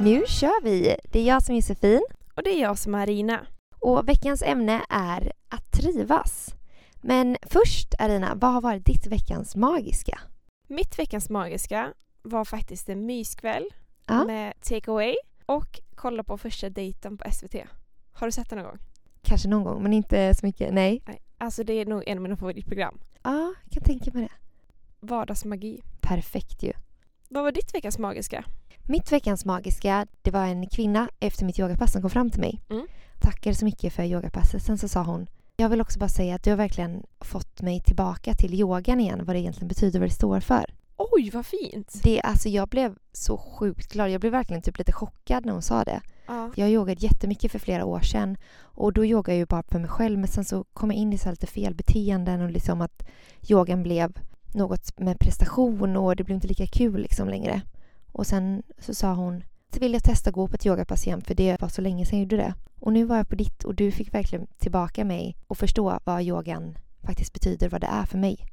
Nu kör vi! Det är jag som är Josefin Och det är jag som är Arina. och veckans ämne är att trivas. Men först Arina, vad har varit ditt veckans magiska? Mitt veckans magiska var faktiskt en myskväll Ja. med takeaway och kolla på första dejten på SVT. Har du sett den någon gång? Kanske någon gång, men inte så mycket. Nej. Nej. Alltså det är nog en av mina favoritprogram. Ja, jag kan tänka mig det. Vardagsmagi. Perfekt ju. Vad var ditt veckans magiska? Mitt veckans magiska, det var en kvinna efter mitt yogapass som kom fram till mig. Mm. Tackade så mycket för yogapasset. Sen så sa hon, jag vill också bara säga att du har verkligen fått mig tillbaka till yogan igen, vad det egentligen betyder och vad det står för. Oj, vad fint! Det, alltså jag blev så sjukt glad. Jag blev verkligen typ lite chockad när hon sa det. Ja. Jag yogade jättemycket för flera år sedan och då yogade jag ju bara för mig själv men sen så kom jag in i så här lite fel beteenden och liksom att yogan blev något med prestation och det blev inte lika kul liksom längre. Och sen så sa hon så vill jag testa att gå på ett yogapass igen för det var så länge sedan jag gjorde det. Och nu var jag på ditt och du fick verkligen tillbaka mig och förstå vad yogan faktiskt betyder, vad det är för mig.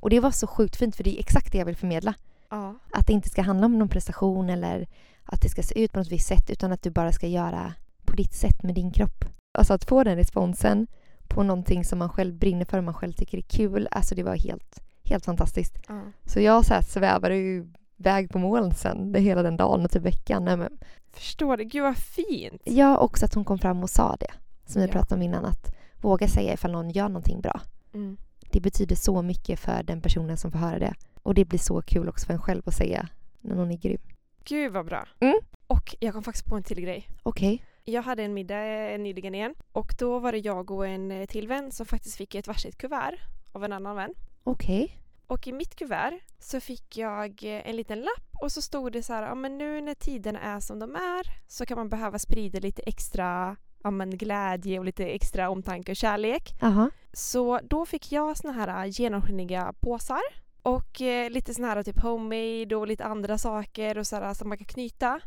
Och det var så sjukt fint för det är exakt det jag vill förmedla ja. att det inte ska handla om någon prestation eller att det ska se ut på något visst sätt utan att du bara ska göra på ditt sätt med din kropp. Alltså att få den responsen på någonting som man själv brinner för och man själv tycker är kul, alltså det var helt, helt fantastiskt. ja. Så jag så här svävade ju väg på moln sen det- hela den dagen och typ veckan. Nej, men Förstår det. Gud vad fint! jag också att hon kom fram och sa det som vi Ja. pratade om innan att våga säga ifall någon gör någonting bra. Mm. Det betyder så mycket för den personen som får höra det och det blir så kul också för en själv att säga när någon är grym. Gud vad bra! Mm. Och jag kom faktiskt på en till grej. Okej. Jag hade en middag eh, nyligen igen och då var det jag och en eh, till vän som faktiskt fick ett varsitt kuvert av en annan vän. Okej. Och i mitt kuvert så fick jag eh, en liten lapp och så stod det så här, ja men nu när tiderna är som de är så kan man behöva sprida lite extra ja, men glädje och lite extra omtanke och kärlek. Jaha. Så då fick jag såna här eh, genomskinliga påsar och eh, lite såna här typ homemade och lite andra saker och så här eh, som man kan knyta.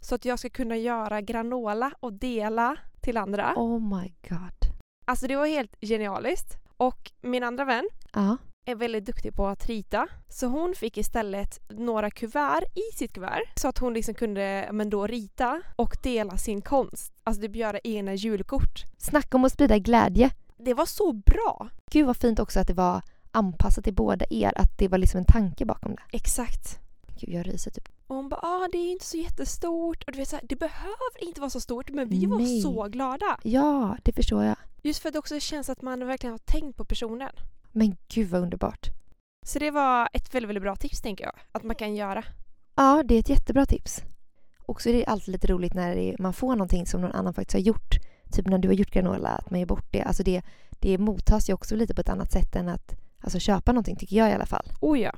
Så att jag ska kunna göra granola och dela till andra. Oh my god. Alltså det var helt genialiskt. Och min andra vän Ja. är väldigt duktig på att rita. Så hon fick istället några kuvert i sitt kuvert så att hon liksom kunde ja, men då rita och dela sin konst. Alltså typ göra egna julkort. Snacka om att sprida glädje. Det var så bra! Gud vad fint också att det var anpassat till båda er, att det var liksom en tanke bakom det. Exakt. Gud, jag ryser typ. Och hon bara ah, det är inte så jättestort och du vet så här, det behöver inte vara så stort men vi var Nej. så glada. Ja, det förstår jag. Just för att det också känns att man verkligen har tänkt på personen. Men gud vad underbart. Så det var ett väldigt, väldigt bra tips tänker jag. Att man kan göra. Ja, det är ett jättebra tips. Och så är det alltid lite roligt när det är, man får någonting som någon annan faktiskt har gjort. Typ när du har gjort granola, att man ger bort det. Alltså det, det mottas ju också lite på ett annat sätt än att alltså köpa någonting, tycker jag i alla fall. Oh ja.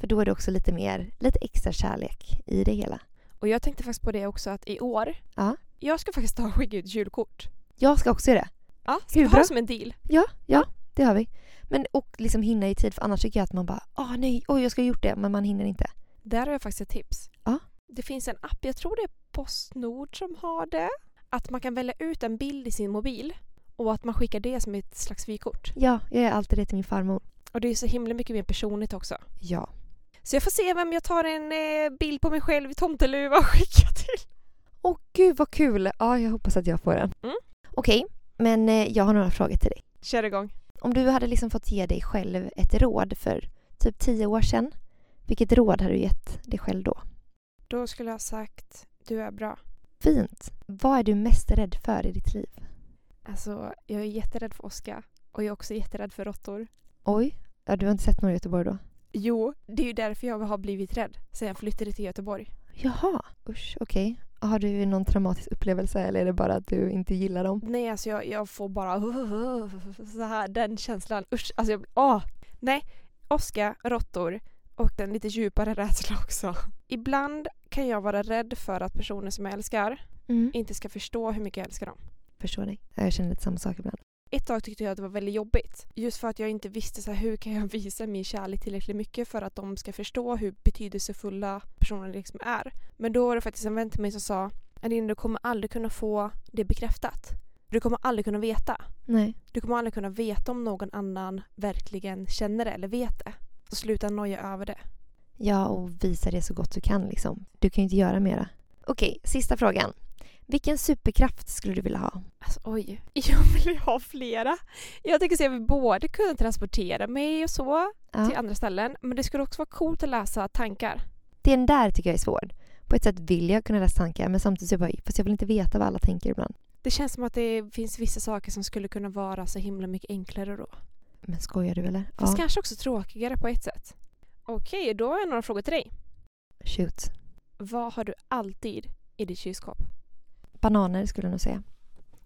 För då är det också lite mer, lite extra kärlek i det hela. Och jag tänkte faktiskt på det också att i år, Ja. jag ska faktiskt ta och skicka ut julkort. Jag ska också göra det. Ja, ska Hur vi ha bra? det som en deal? Ja, ja, det har vi. Men och liksom hinna i tid för annars tycker jag att man bara ah nej, oj jag skulle ha gjort det men man hinner inte. Där har jag faktiskt ett tips. Ja. Det finns en app, jag tror det är Postnord som har det. Att man kan välja ut en bild i sin mobil och att man skickar det som ett slags vykort. Ja, jag gör alltid det till min farmor. Och det är så himla mycket mer personligt också. Ja. Så jag får se vem jag tar en eh, bild på mig själv i tomteluva och skickar till. Åh gud vad kul! Ja, jag hoppas att jag får den. Mm. Okej, men eh, jag har några frågor till dig. Kör igång. Om du hade liksom fått ge dig själv ett råd för typ tio år sedan, vilket råd hade du gett dig själv då? Då skulle jag ha sagt, du är bra. Fint! Vad är du mest rädd för i ditt liv? Alltså, jag är jätterädd för åska. Och jag är också jätterädd för råttor. Oj, ja, du har inte sett några i Göteborg då? Jo, det är ju därför jag har blivit rädd sen jag flyttade till Göteborg. Jaha, usch, okej. Har du någon traumatisk upplevelse eller är det bara att du inte gillar dem? Nej, alltså jag, jag får bara så här, den känslan. Usch, alltså jag blir... Åh! Nej, åska, råttor och en lite djupare rädsla också. Ibland kan jag vara rädd för att personer som jag älskar Mm. inte ska förstå hur mycket jag älskar dem. förstår dig. Ja, Jag känner lite samma sak ibland. Ett tag tyckte jag att det var väldigt jobbigt. Just för att jag inte visste så här, hur kan jag visa min kärlek tillräckligt mycket för att de ska förstå hur betydelsefulla personer liksom är. Men då var det faktiskt en vän till mig som sa Aline, du kommer aldrig kunna få det bekräftat. Du kommer aldrig kunna veta. Nej. Du kommer aldrig kunna veta om någon annan verkligen känner det eller vet det. Så sluta noja över det. Ja, och visa det så gott du kan liksom. Du kan ju inte göra mera. Okej, sista frågan. Vilken superkraft skulle du vilja ha? Alltså oj, jag vill ju ha flera. Jag tänker så jag vill både kunna transportera mig och så Ja. till andra ställen men det skulle också vara coolt att läsa tankar. Den där tycker jag är svår. På ett sätt vill jag kunna läsa tankar men samtidigt så bara, fast jag vill inte veta vad alla tänker ibland. Det känns som att det finns vissa saker som skulle kunna vara så himla mycket enklare då. Men skojar du eller? Fast Ja, kanske också tråkigare på ett sätt. Okej, då har jag några frågor till dig. shoot. Vad har du alltid i ditt kylskåp? Bananer skulle jag nog säga.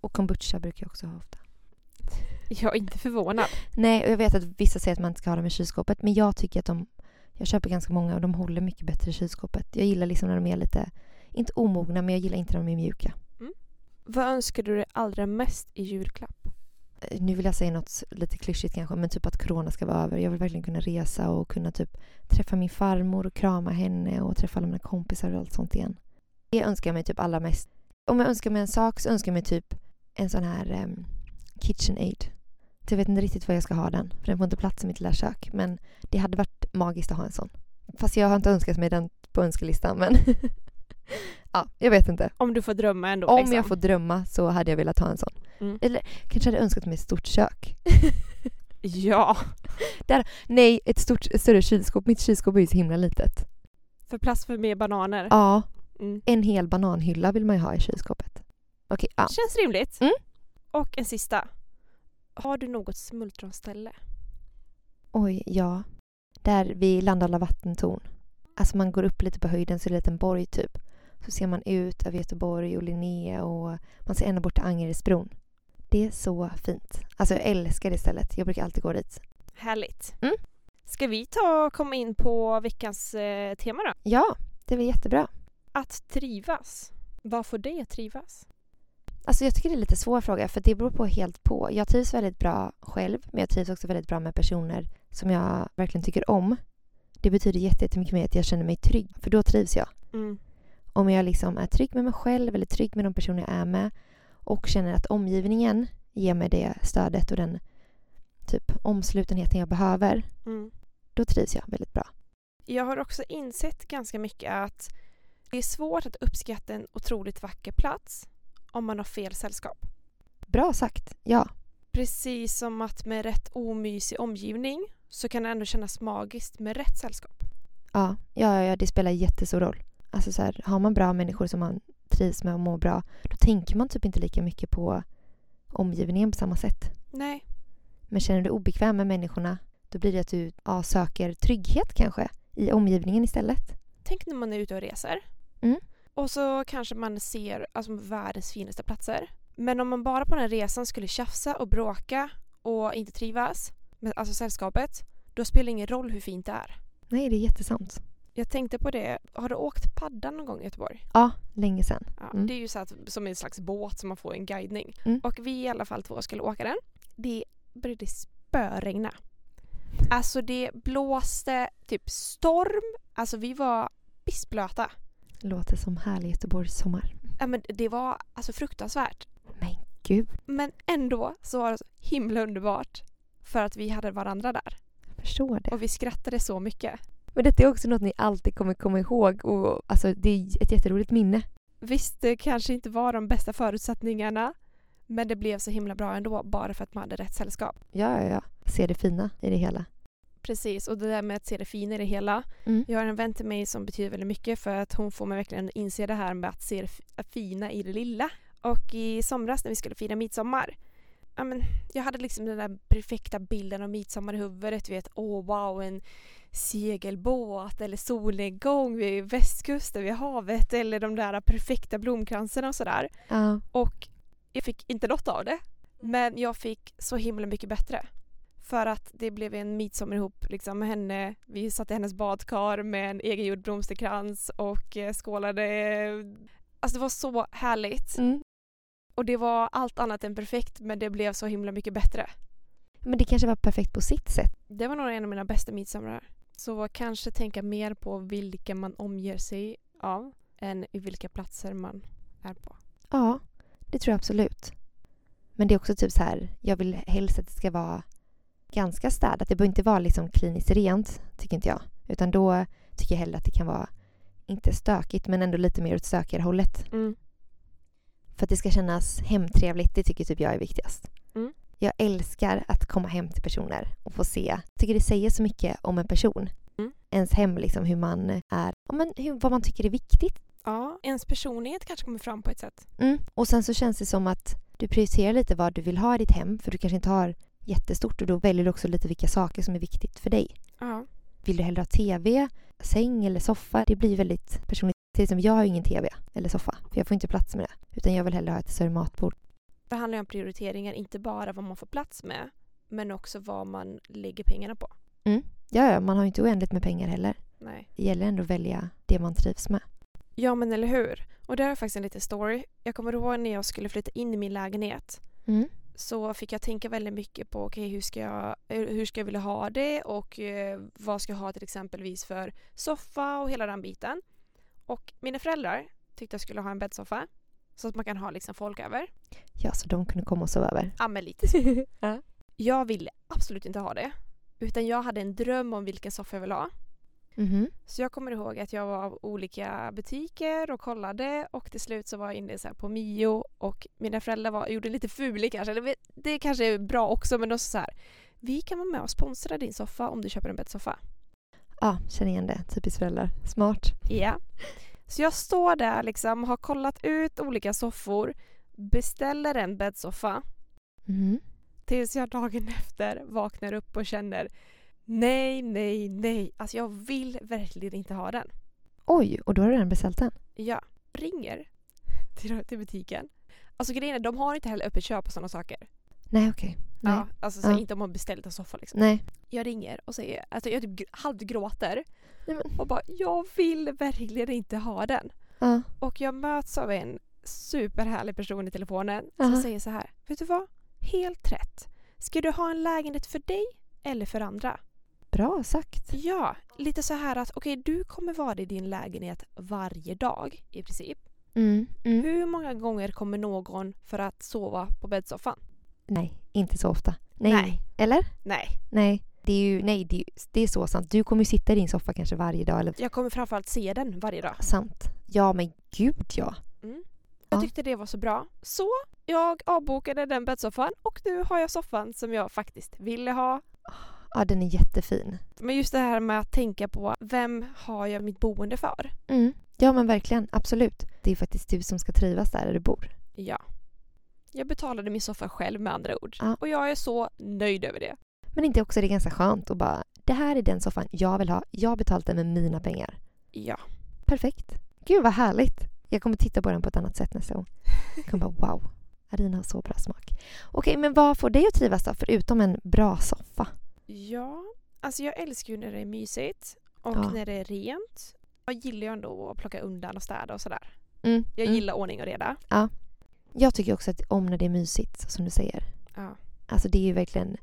Och kombucha brukar jag också ha ofta. Jag är inte förvånad. Nej, och jag vet att vissa säger att man inte ska ha dem i kylskåpet men jag tycker att de... Jag köper ganska många och de håller mycket bättre i kylskåpet. Jag gillar liksom när de är lite... Inte omogna men jag gillar inte när de är mjuka. Vad önskar du dig allra mest i julklapp? Eh, Nu vill jag säga något lite klyschigt kanske men typ att corona ska vara över. Jag vill verkligen kunna resa och kunna typ träffa min farmor och krama henne och träffa alla mina kompisar och allt sånt igen. Det önskar jag mig typ allra mest. Om jag önskar mig en sak så önskar jag mig typ en sån här um, KitchenAid. Så Jag vet inte riktigt vad jag ska ha den för den får inte plats i mitt lilla kök men det hade varit magiskt att ha en sån. Fast jag har inte önskat mig den på önskelistan men ja, jag vet inte. Om du får drömma ändå. Om liksom. jag får drömma så hade jag velat ha en sån. Mm. Eller kanske hade jag önskat mig ett stort kök. Ja! Nej, ett stort, ett större kylskåp. Mitt kylskåp är ju så himla litet. För plats för mer bananer. Ja, Mm. en hel bananhylla vill man ju ha i kylskåpet. Okej, ja. Känns rimligt. Mm. Och en sista. Har du något smultronställe? Oj, ja. Där vid Landala vattentorn. Alltså man går upp lite på höjden så är det en liten borg typ. Så ser man ut över Göteborg och Linné och man ser ända bort till Angeredsbron. Det är så fint. Alltså jag älskar det stället. Jag brukar alltid gå dit. Härligt. Mm. Ska vi ta och komma in på veckans eh, tema då? Ja, det är väl jättebra. Att trivas. Vad får dig att trivas? Alltså jag tycker det är lite svår fråga för det beror på helt på. Jag trivs väldigt bra själv men jag trivs också väldigt bra med personer som jag verkligen tycker om. Det betyder jätte- jättemycket mer att jag känner mig trygg för då trivs jag. Om jag liksom är trygg med mig själv eller trygg med de personer jag är med och känner att omgivningen ger mig det stödet och den typ omslutenheten jag behöver, Mm. då trivs jag väldigt bra. Jag har också insett ganska mycket att det är svårt att uppskatta en otroligt vacker plats om man har fel sällskap. Bra sagt, ja. Precis som att med rätt omysig omgivning så kan det ändå kännas magiskt med rätt sällskap. Ja, ja, ja, ja det spelar jättestor roll. Alltså så här, har man bra människor som man trivs med och mår bra, då tänker man typ inte lika mycket på omgivningen på samma sätt. Nej, Men känner du dig obekväm med människorna, då blir det att du ja, söker trygghet kanske i omgivningen istället. tänk när man är ute och reser. Mm. Och så kanske man ser alltså, världens finaste platser. Men om man bara på den här resan skulle tjafsa och bråka och inte trivas med alltså sällskapet, då spelar det ingen roll hur fint det är. Nej, det är jättesant. Jag tänkte på det, har du åkt paddan någon gång i Göteborg? Ja, länge sedan. Ja, Mm. Det är ju så att, som en slags båt som man får en guidning. Mm. Och vi i alla fall två skulle åka den. Det började spöregna. Alltså det blåste typ storm. Alltså vi var pissblöta. Låter som härlig Göteborgs sommar. Ja, men det var alltså fruktansvärt. Men gud, Men ändå så var det så himla underbart. För att vi hade varandra där. jag förstår det. Och vi skrattade så mycket. Men detta är också något ni alltid kommer komma ihåg och alltså, det är ett jätteroligt minne. Visst, det kanske inte var de bästa förutsättningarna. Men det blev så himla bra ändå bara för att man hade rätt sällskap. Ja, ja, ja. Se det fina i det hela. Precis, och det där med att se det fina i det hela. Mm. Jag har en vän till mig som betyder väldigt mycket för att hon får mig verkligen inse det här med att se det f- fina i det lilla. Och i somras när vi skulle fira midsommar, ja, men jag hade liksom den där perfekta bilden av midsommar i huvudet. Du vet, åh wow, en segelbåt eller solnedgång vid västkusten, vid havet eller de där perfekta blomkranserna och sådär. Ja. Och jag fick inte något av det. Men jag fick så himla mycket bättre. För att det blev en midsommar ihop liksom, med henne. Vi satt i hennes badkar med en egengjord blomsterkrans och eh, skålade. Alltså det var så härligt. Mm. Och det var allt annat än perfekt men det blev så himla mycket bättre. Men det kanske var perfekt på sitt sätt. Det var nog en av mina bästa midsomrar. Så kanske tänka mer på vilka man omger sig av än i vilka platser man är på. Ja, det tror jag absolut. Men det är också typ så här, jag vill helst att det ska vara ganska städat. Det behöver inte vara liksom kliniskt rent, tycker inte jag. Utan då tycker jag hellre att det kan vara inte stökigt men ändå lite mer åt stökigare hållet. Mm. För att det ska kännas hemtrevligt, det tycker typ jag är viktigast. Mm. Jag älskar att komma hem till personer och få se. Jag tycker det säger så mycket om en person. Mm. Ens hem, liksom hur man är, ja, men hur, vad man tycker är viktigt. Ja, ens personlighet kanske kommer fram på ett sätt. Mm. Och sen så känns det som att du prioriterar lite vad du vill ha i ditt hem för du kanske inte har jättestort och då väljer du också lite vilka saker som är viktigt för dig. Ja. Vill du hellre ha TV, säng eller soffa? Det blir väldigt personligt. Till exempel jag har ju ingen TV eller soffa för jag får inte plats med det. Utan jag vill hellre ha ett större matbord. Det handlar ju om prioriteringar, inte bara vad man får plats med men också vad man lägger pengarna på. Ja, ja, man har ju inte oändligt med pengar heller. Nej. Det gäller ändå att välja det man trivs med. Ja men eller hur. Och där har jag faktiskt en liten story. Jag kommer ihåg när jag skulle flytta in i min lägenhet Mm. så fick jag tänka väldigt mycket på okej hur, ska jag, eh, hur ska jag vilja ha det och eh, vad ska jag ha till exempelvis för soffa och hela den biten. Och mina föräldrar tyckte jag skulle ha en bäddsoffa så att man kan ha liksom folk över. Ja, så de kunde komma och sova över. Ja men lite så. Ja. Jag ville absolut inte ha det. Utan jag hade en dröm om vilken soffa jag ville ha. Mhm. Så jag kommer ihåg att jag var i olika butiker och kollade och till slut så var jag inne så här på Mio och mina föräldrar var, gjorde lite fuli kanske. Eller Det kanske är bra också men de sa så här. Vi kan vara med och sponsra din soffa om du köper en bäddsoffa. Ja, känner igen det. Typiskt föräldrar. Smart. Ja. Så jag står där liksom, har kollat ut olika soffor, beställer en bäddsoffa Mhm. tills jag dagen efter vaknar upp och känner nej, nej, nej. Alltså jag vill verkligen inte ha den. Oj, och då har du redan beställt den? Ja, ringer till, till butiken. Alltså grejen är, de har inte heller öppet köp och sådana saker. Nej, okej. Nej. Ja, alltså så Ja. inte om man beställt en soffa liksom. Nej. Jag ringer och säger, alltså jag typ gr- halvgråter Nej, men. och bara jag vill verkligen inte ha den. Ja. Och jag möts av en superhärlig person i telefonen Aha. som säger så här, vet du vad? Helt rätt. Ska du ha en lägenhet för dig eller för andra? Bra sagt. Ja, lite så här att okej du kommer vara i din lägenhet varje dag i princip. Mm. Mm. Hur många gånger kommer någon för att sova på bäddsoffan? Nej, inte så ofta. Nej. Nej. Eller? Nej. Nej. Det är ju, nej, det är, ju, det är så sant. Du kommer ju sitta i din soffa kanske varje dag eller Jag kommer framförallt se den varje dag. sant. Ja, men gud ja. Jag Ja. tyckte det var så bra. Så jag avbokade den bäddsoffan och nu har jag soffan som jag faktiskt ville ha. Ja, den är jättefin. Men just det här med att tänka på vem har jag mitt boende för? Mm. Ja, men verkligen. Absolut. Det är ju faktiskt du som ska trivas där, där du bor. Ja. Jag betalade min soffa själv med andra ord. Ja. Och jag är så nöjd över det. Men inte också det är ganska skönt att bara det här är den soffan jag vill ha. Jag har betalt den med mina pengar. Ja. Perfekt. Gud vad härligt. Jag kommer titta på den på ett annat sätt nästa gång. Jag kommer bara wow. Arina har så bra smak. Okej, men vad får dig att trivas då? Förutom en bra soffa. Ja, alltså jag älskar ju när det är mysigt och Ja. när det är rent. Jag gillar ju ändå att plocka undan och städa och sådär. Mm. Jag mm. gillar ordning och reda. Jag tycker också att om när det är mysigt, så som du säger. Ja. Alltså det är ju verkligen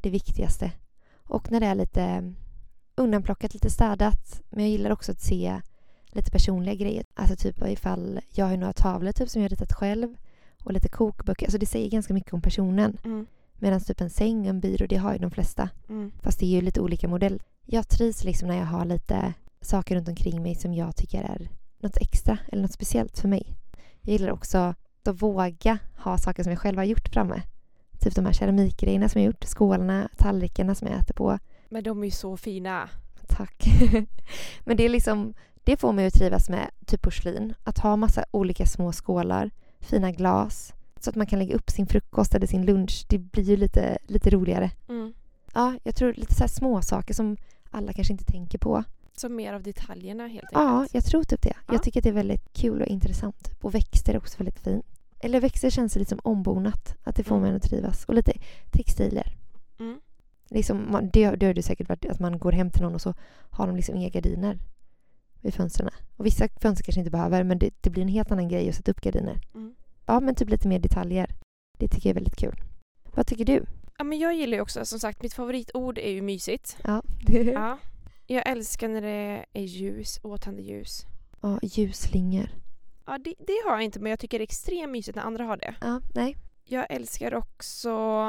det viktigaste. Och när det är lite undanplockat, lite städat. Men jag gillar också att se lite personliga grejer. Alltså typ ifall jag har ju några tavlor typ som jag har ritat själv och lite kokböcker. Alltså det säger ganska mycket om personen. Mm. Medan typ en säng och en byrå, det har ju de flesta. Mm. Fast det är ju lite olika modell. Jag trivs liksom när jag har lite saker runt omkring mig som jag tycker är något extra eller något speciellt för mig. Jag gillar också att våga ha saker som jag själv har gjort framme. Typ de här keramikgrejerna som jag gjort, skålarna, tallrikarna som jag äter på. Men de är ju så fina. Tack. Men det är liksom, det får mig att trivas med typ porslin. Att ha massa olika små skålar, fina glas. Så att man kan lägga upp sin frukost eller sin lunch. Det blir ju lite, lite roligare. Mm. Ja, jag tror lite så här små saker som alla kanske inte tänker på. Så mer av detaljerna helt Ja, enkelt. jag tror typ det. Ja. Jag tycker att det är väldigt kul och intressant. Typ. Och växter är också väldigt fint. Eller växter känns lite som ombonat. Att det får Mm. mig att trivas. Och lite textilier. Mm. Liksom, man, det, har- det har du säkert varit, att man går hem till någon och så har de liksom inga gardiner vid fönstren. Och vissa fönster kanske inte behöver, men det, det blir en helt annan grej att sätta upp gardiner. Mm. Ja, men typ lite mer detaljer. Det tycker jag är väldigt kul. Vad tycker du? Ja, men jag gillar ju också, som sagt, mitt favoritord är ju mysigt. Ja. Ja. Jag älskar när det är ljus, åtande ljus. ja, ljusslingor. Ja, det, det har jag inte, men jag tycker det är extremt mysigt när andra har det. Ja, nej. Jag älskar också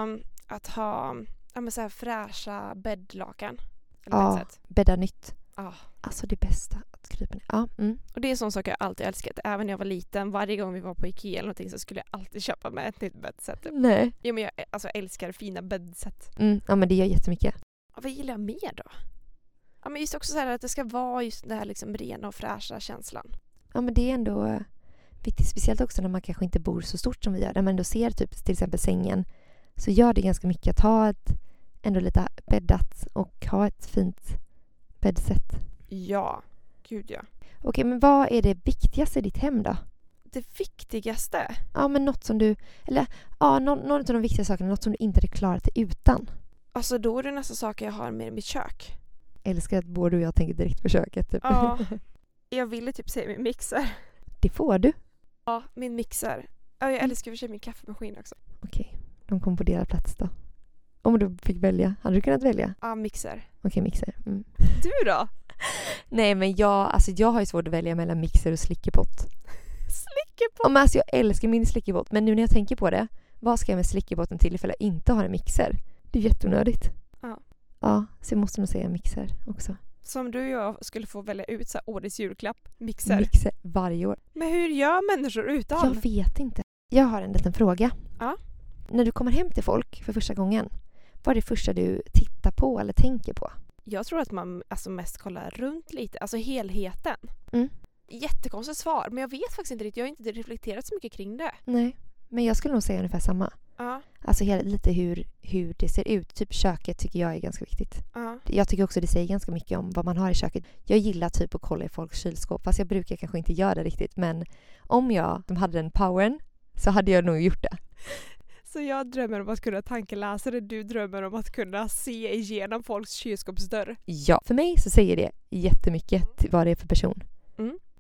att ha ja, men så här fräscha bäddlakan. Eller på Ja. ett sätt. Bädda nytt. Ah. Alltså det bästa, att krypa ner. Ja, mm. Och det är en sån sak jag alltid älskat. Även när jag var liten, varje gång vi var på Ikea eller någonting så skulle jag alltid köpa med ett nytt bäddsätt. Typ. Nej. Jo men jag ä- alltså, älskar fina bäddsätt. Mm. Ja men det gör jättemycket. Ja, vad gillar jag mer då? Ja men just också så här att det ska vara just den här liksom rena och fräscha känslan. Ja men det är ändå eh, viktigt. Speciellt också när man kanske inte bor så stort som vi gör. När man ändå ser typ till exempel sängen så gör det ganska mycket att ha ett ändå lite bäddat och ha ett fint bäddsätt. Ja, gud ja. Okej men vad är det viktigaste i ditt hem då? Det viktigaste? Ja men något som du, eller ja någon, någon av de viktiga sakerna, något som du inte hade klarat dig utan. Alltså då är det nästan saker jag har med i mitt kök. Älskar att både du och jag tänker direkt på köket typ. Ja. Jag ville typ säga min mixer. Det får du. Ja, min mixer. Ja, jag älskar i och för sig min kaffemaskin också. Okej, de kommer på delad plats då. Om du fick välja, hade du kunnat välja? Ja, mixer. Okej, mixer. Mm. Du då? Nej men jag, alltså jag har ju svårt att välja mellan mixer och slickepott. Slickepott! Ja, men alltså jag älskar min slickepott men nu när jag tänker på det, vad ska jag med slickepotten till ifall jag inte har en mixer? Det är jätteonödigt. Ja. Ja, så jag måste nog säga mixer också. Som du och jag skulle få välja ut så här, årets julklapp. Mixer. Mixer varje år. Men hur gör människor utan? Jag vet inte. Jag har en liten fråga. Ja. När du kommer hem till folk för första gången, vad är det första du tittar på eller tänker på? Jag tror att man alltså, mest kollar runt lite, alltså helheten. Mm. Jättekonstigt svar, men jag vet faktiskt inte riktigt. Jag har inte reflekterat så mycket kring det. Nej, men jag skulle nog säga ungefär samma. Ja, Alltså hela, lite hur, hur det ser ut. Typ köket tycker jag är ganska viktigt. ja. Jag tycker också det säger ganska mycket om vad man har i köket. Jag gillar typ att kolla i folks kylskåp fast jag brukar kanske inte göra det riktigt men om jag de hade den powern så hade jag nog gjort det. Så jag drömmer om att kunna tankeläsa det, du drömmer om att kunna se igenom folks kylskåpsdörr. Ja. För mig så säger det jättemycket till vad det är för person.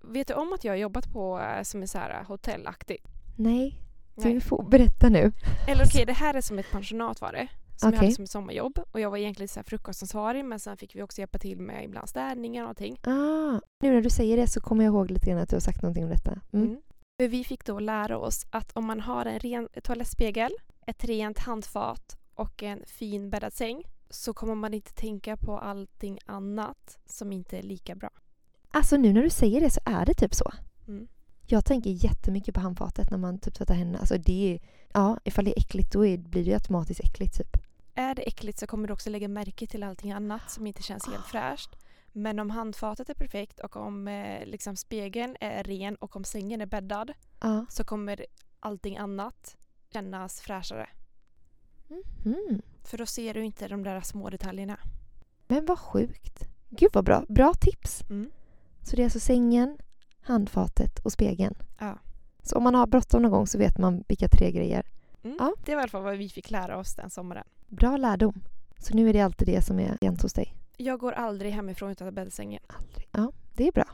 Vet du om att jag har jobbat på eh, som är så här hotellaktigt? Nej, du Nej. får berätta nu. Eller okej, det här är som ett pensionat var det. Som jag Okej. hade som ett sommarjobb. Och jag var egentligen så här frukostansvarig men sen fick vi också hjälpa till med ibland städningar och allting. Ah, nu när du säger det så kommer jag ihåg lite grann att du har sagt någonting om detta. Mm. Mm. För Vi fick då lära oss att om man har en ren toalettspegel, ett rent handfat och en fin bäddad säng så kommer man inte tänka på allting annat som inte är lika bra. Alltså nu när du säger det så är det typ så. Mm. Jag tänker jättemycket på handfatet när man typ tvättar händerna. Alltså det är, ja, ifall det är äckligt då är, blir det ju automatiskt äckligt typ. Är det äckligt så kommer du också lägga märke till allting annat som inte känns helt fräscht. Men om handfatet är perfekt och om eh, liksom spegeln är ren och om sängen är bäddad Ja. så kommer allting annat kännas fräschare. Mm. För då ser du inte de där små detaljerna. Men vad sjukt. Gud vad bra. Bra tips. Mm. Så det är alltså sängen, handfatet och spegeln. Ja. Så om man har bråttom någon gång så vet man vilka tre grejer. Mm. Ja. Det var i alla fall vad vi fick lära oss den sommaren. Bra lärdom. Så nu är det alltid det som är rent hos dig. Jag går aldrig hemifrån utan bäddsängen. Aldrig. Ja, det är bra.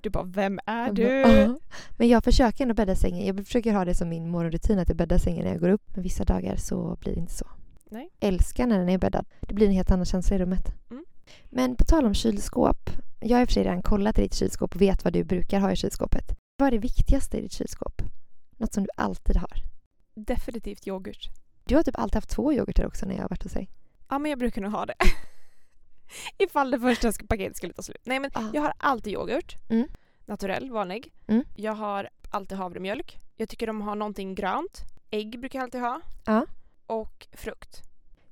Du bara, vem är Jag du? bara, "Ah." Men jag försöker ändå bädda sängen. Jag försöker ha det som min morgonrutin att jag bäddar sängen när jag går upp. Men vissa dagar så blir det inte så. Nej. Älskar när den är bäddad. Det blir en helt annan känsla i rummet. Mm. Men på tal om kylskåp. Jag har i och för sig redan kollat i ditt kylskåp och vet vad du brukar ha i kylskåpet. Vad är det viktigaste i ditt kylskåp? Något som du alltid har. Definitivt yoghurt. Du har typ alltid haft två yoghurtar också när jag har varit hos dig. Ja, men jag brukar nog ha det. Ifall det första sk- paketet skulle ta slut. Nej, men Ah. jag har alltid yoghurt. Mm. Naturell, vanlig. Mm. Jag har alltid havremjölk. Jag tycker de har någonting grönt. Ägg brukar jag alltid ha. Ja. Och frukt.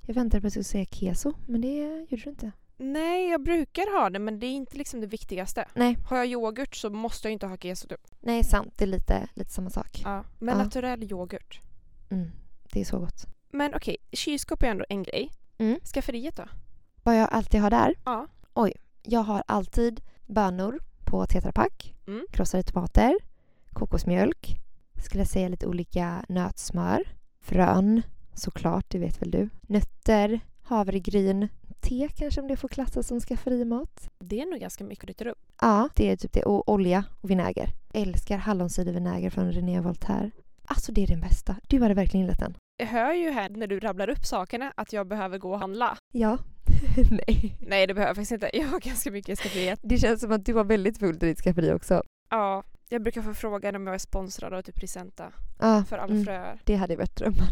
Jag väntade på att du skulle säga keso, men det gjorde du inte. Nej, jag brukar ha det men det är inte liksom det viktigaste. Nej. Har jag yoghurt så måste jag inte ha keso. Typ. Nej, sant. Det är lite, lite samma sak. Ja. Men Ja. naturell yoghurt. Mm, det är så gott. Men okej, kylskåp är ändå en grej. Mm. Skafferiet då? Vad jag alltid har där? Ja. Oj. Jag har alltid bönor på tetrapack, Mm. krossade tomater, kokosmjölk, skulle jag säga lite olika nötsmör, frön såklart, det vet väl du, nötter, havregryn, te kanske om det får klassas som skafferimat. Det är nog ganska mycket du tar upp. Ja, det är typ det. Och olja och vinäger. Älskar hallonsidervinäger från René Voltaire. Alltså det är den bästa. Du hade verkligen gillat den. Jag hör ju här när du rabblar upp sakerna att jag behöver gå och handla. Ja. Nej. Nej det behöver jag faktiskt inte. Jag har ganska mycket i skafferiet. Det känns som att du var väldigt fullt i ditt skafferi också. Ja, jag brukar få frågan om jag är sponsrad av typ Presenta Ja. för alla mm. fröer. Det hade varit drömmen.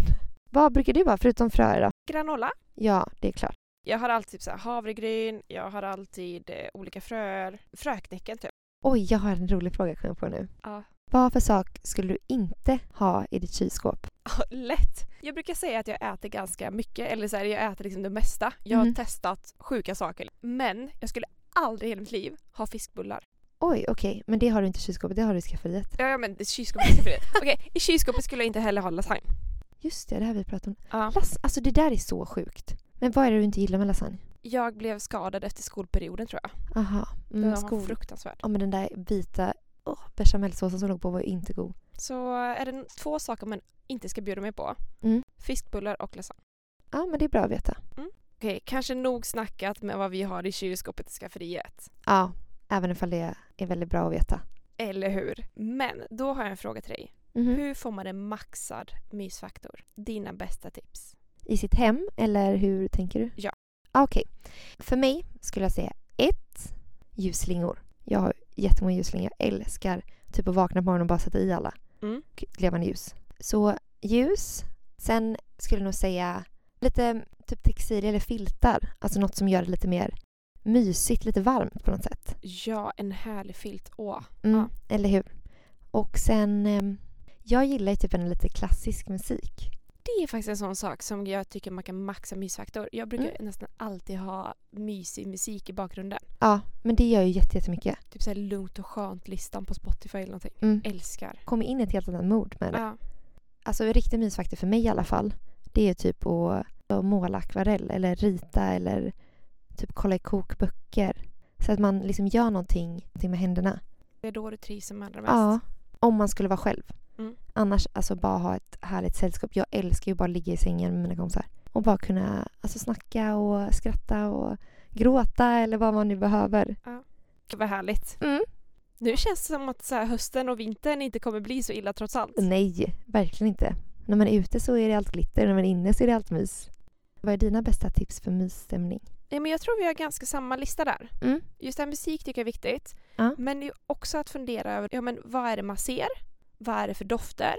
Vad brukar du ha förutom fröer då? Granola? Ja, det är klart. Jag har alltid typ så här havregryn, jag har alltid eh, olika fröer. Fröknäcken typ. Oj, jag har en rolig fråga kom jag på nu. Ja. Vad för sak skulle du inte ha i ditt kylskåp? Lätt! Jag brukar säga att jag äter ganska mycket, eller så här, jag äter liksom det mesta. Jag har Mhm. testat sjuka saker. Men jag skulle aldrig i hela mitt liv ha fiskbullar. Oj, okej, men det har du inte i kylskåpet, det har du i skafferiet. Ja, ja men i kylskåpet ska det. Okej, i kylskåpet skulle jag inte heller ha lasagne. Just det, det här vi pratat om. Ja. Lass, alltså det där är så sjukt. Men vad är det du inte gillar med lasagne? Jag blev skadad efter skolperioden tror jag. Aha, Den mm, var skor. fruktansvärt. Ja men den där vita oh, bechamelsåsen som låg på var ju inte god. Så är det två saker man inte ska bjuda mig på. Mm. Fiskbullar och lasagne. Ja men det är bra att veta. Okej, kanske nog snackat med vad vi har i kylskåpet i skafferiet. Ja, även ifall det är väldigt bra att veta. Eller hur? Men då har jag en fråga till dig. Mhm. Hur får man en maxad mysfaktor? Dina bästa tips. I sitt hem eller hur tänker du? Ja. Ah, Okej. För mig skulle jag säga ett, ljusslingor. Jag har jättemånga ljusslingor. Jag älskar typ att vakna på morgonen och bara sätta i alla. Mm. Och Levande ljus. Så ljus. Sen skulle jag nog säga lite typ textil eller filtar. Alltså något som gör det lite mer mysigt, lite varmt på något sätt. Ja, en härlig filt. Åh. Mm, Ja. Eller hur? Och sen, ehm, jag gillar ju typ en lite klassisk musik. Det är faktiskt en sån sak som jag tycker man kan maxa mysfaktor. Jag brukar Mm. nästan alltid ha mysig musik i bakgrunden. Ja, men det gör ju jätte- jättemycket. Typ såhär lugnt och skönt-listan på Spotify eller någonting. Mm. Älskar. Kommer in i ett helt annat mod med det. Ja. Alltså en riktig mysfaktor för mig i alla fall, det är typ att, att måla akvarell eller rita eller typ kolla i kokböcker. Så att man liksom gör någonting, någonting med händerna. Det är då du trivs som allra mest. Ja, om man skulle vara själv. Mm. Annars alltså bara ha ett härligt sällskap. Jag älskar ju bara att ligga i sängen med mina kompisar och bara kunna alltså, snacka och skratta och gråta eller vad man nu behöver. Gud, Vad härligt. Mm. Nu känns det som att så här, hösten och vintern inte kommer bli så illa trots allt. Mm. Nej, verkligen inte. När man är ute så är det allt glitter, när man är inne så är det allt mys. Vad är dina bästa tips för mysstämning? Nej, men jag tror vi har ganska samma lista där. Mm. Just det här musik tycker jag är viktigt. Ja. Men det är ju också att fundera över ja, men vad är det man ser? Vad är det för dofter?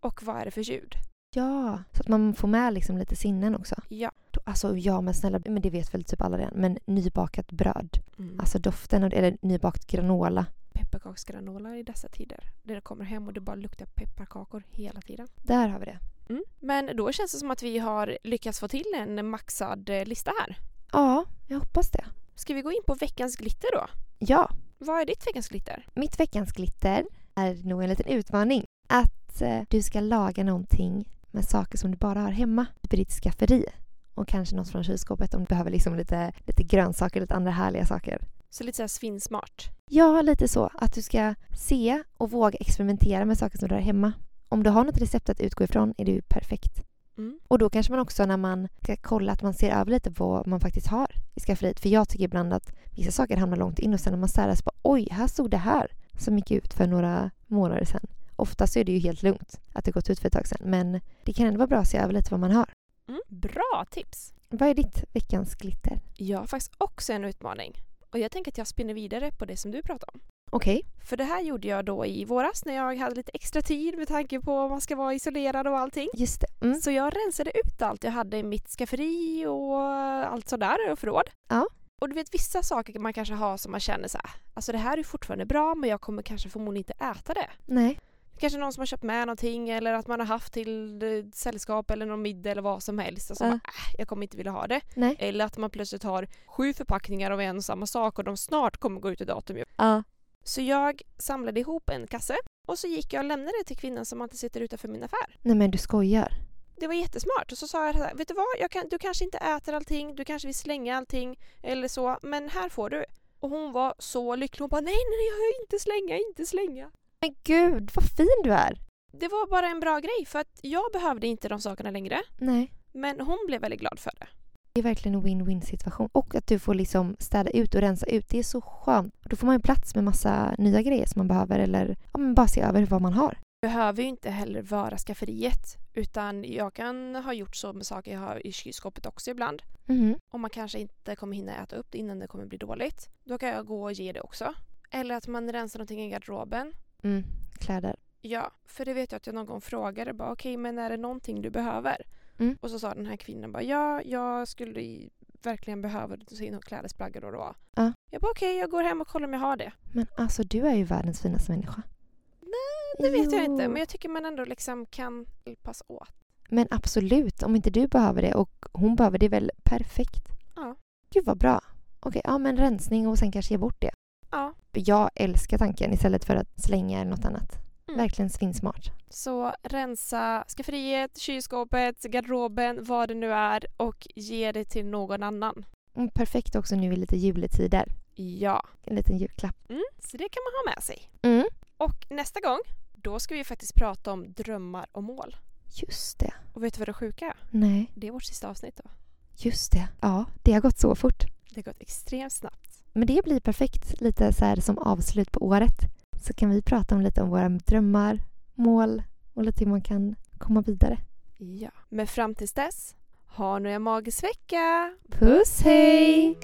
Och vad är det för ljud? Ja, så att man får med liksom lite sinnen också. Ja. Då- Alltså ja, men snälla, men det vet väl typ alla redan, men nybakat bröd. Mm. Alltså doften, av det, eller nybakt granola. Pepparkaksgranola i dessa tider. Där du kommer hem och det bara luktar pepparkakor hela tiden. Där har vi det. Mm. Men då känns det som att vi har lyckats få till en maxad eh, lista här. Ja, jag hoppas det. Ska vi gå in på veckans glitter då? Ja, Vad är ditt veckans glitter? Mitt veckans glitter är nog en liten utmaning. Att eh, du ska laga någonting med saker som du bara har hemma. Typ i ditt skafferi. Och kanske något från kylskåpet om du behöver liksom lite, lite grönsaker, lite andra härliga saker. Så lite såhär svinsmart. Ja, lite så. Att du ska se och våga experimentera med saker som du har hemma. Om du har något recept att utgå ifrån är det ju perfekt. Mm. Och då kanske man också när man ska kolla att man ser över lite vad man faktiskt har i skafferiet. För jag tycker ibland att vissa saker hamnar långt in och sen när man städar så bara oj, här stod det här som gick ut för några månader sedan. Oftast är det ju helt lugnt att det gått ut för ett tag sedan men det kan ändå vara bra att se över lite vad man har. Mm. Bra tips! Vad är ditt veckans glitter? Jag har faktiskt också en utmaning. Och jag tänker att jag spinner vidare på det som du pratade om. Okej. För det här gjorde jag då i våras när jag hade lite extra tid med tanke på om man ska vara isolerad och allting. Just det. Mm. Så jag rensade ut allt jag hade i mitt skafferi och allt sådär och förråd. Ja. Och du vet vissa saker man kanske har som man känner så här, alltså det här är fortfarande bra men jag kommer kanske förmodligen inte äta det. Nej. Kanske någon som har köpt med någonting eller att man har haft till eh, sällskap eller någon middag eller vad som helst. Alltså Ja. man, äh, jag kommer inte vilja ha det. Nej. Eller att man plötsligt har sju förpackningar av en och samma sak och de snart kommer gå ut i datum. ju. Ja. Så jag samlade ihop en kasse och så gick jag och lämnade det till kvinnan som alltid sitter utanför min affär. Nej men du skojar. Det var jättesmart. Och så sa jag så här, vet du vad, jag kan, du kanske inte äter allting, du kanske vill slänga allting eller så, men här får du. Och hon var så lycklig. Hon bara nej, nej, nej, jag inte slänga, inte slänga. Men gud vad fin du är. Det var bara en bra grej för att jag behövde inte de sakerna längre. Nej. Men hon blev väldigt glad för det. Det är verkligen en win-win situation. Och att du får liksom städa ut och rensa ut. Det är så skönt. Då får man ju plats med massa nya grejer som man behöver eller ja, men bara se över vad man har. behöver ju inte heller vara skafferiet utan jag kan ha gjort så med saker jag har i kylskåpet också ibland. Mhm. Om man kanske inte kommer hinna äta upp det innan det kommer bli dåligt. Då kan jag gå och ge det också. Eller att man rensar någonting i garderoben. Mm. Kläder. Ja, för det vet jag att jag någon gång frågade bara okej men är det någonting du behöver? Mm. Och så sa den här kvinnan bara ja, jag skulle i- verkligen behöver så in och klädesplagg då och då. Ja. Jag bara okej, jag går hem och kollar om jag har det. Men alltså du är ju världens finaste människa. Det vet jag Jo. inte men jag tycker man ändå liksom kan hjälpas åt. Men absolut, om inte du behöver det och hon behöver det är väl perfekt. Ja. Gud vad bra. Okej, ja men rensning och sen kanske ge bort det. Ja. Jag älskar tanken istället för att slänga eller något annat. Mm. Verkligen svinsmart. Så rensa skafferiet, kylskåpet, garderoben, vad det nu är och ge det till någon annan. Mm, perfekt också nu i lite juletider. Ja. En liten julklapp. Mm. Så det kan man ha med sig. Mm. Och nästa gång, då ska vi faktiskt prata om drömmar och mål. Just det. Och vet du vad det sjuka är? Nej, Det är vårt sista avsnitt då. just det. Ja, det har gått så fort. Det har gått extremt snabbt. Men det blir perfekt lite så här som avslut på året. Så kan vi prata om lite om våra drömmar, mål och lite hur man kan komma vidare. Ja. Men fram tills dess, ha nu en magisk vecka! Puss hej!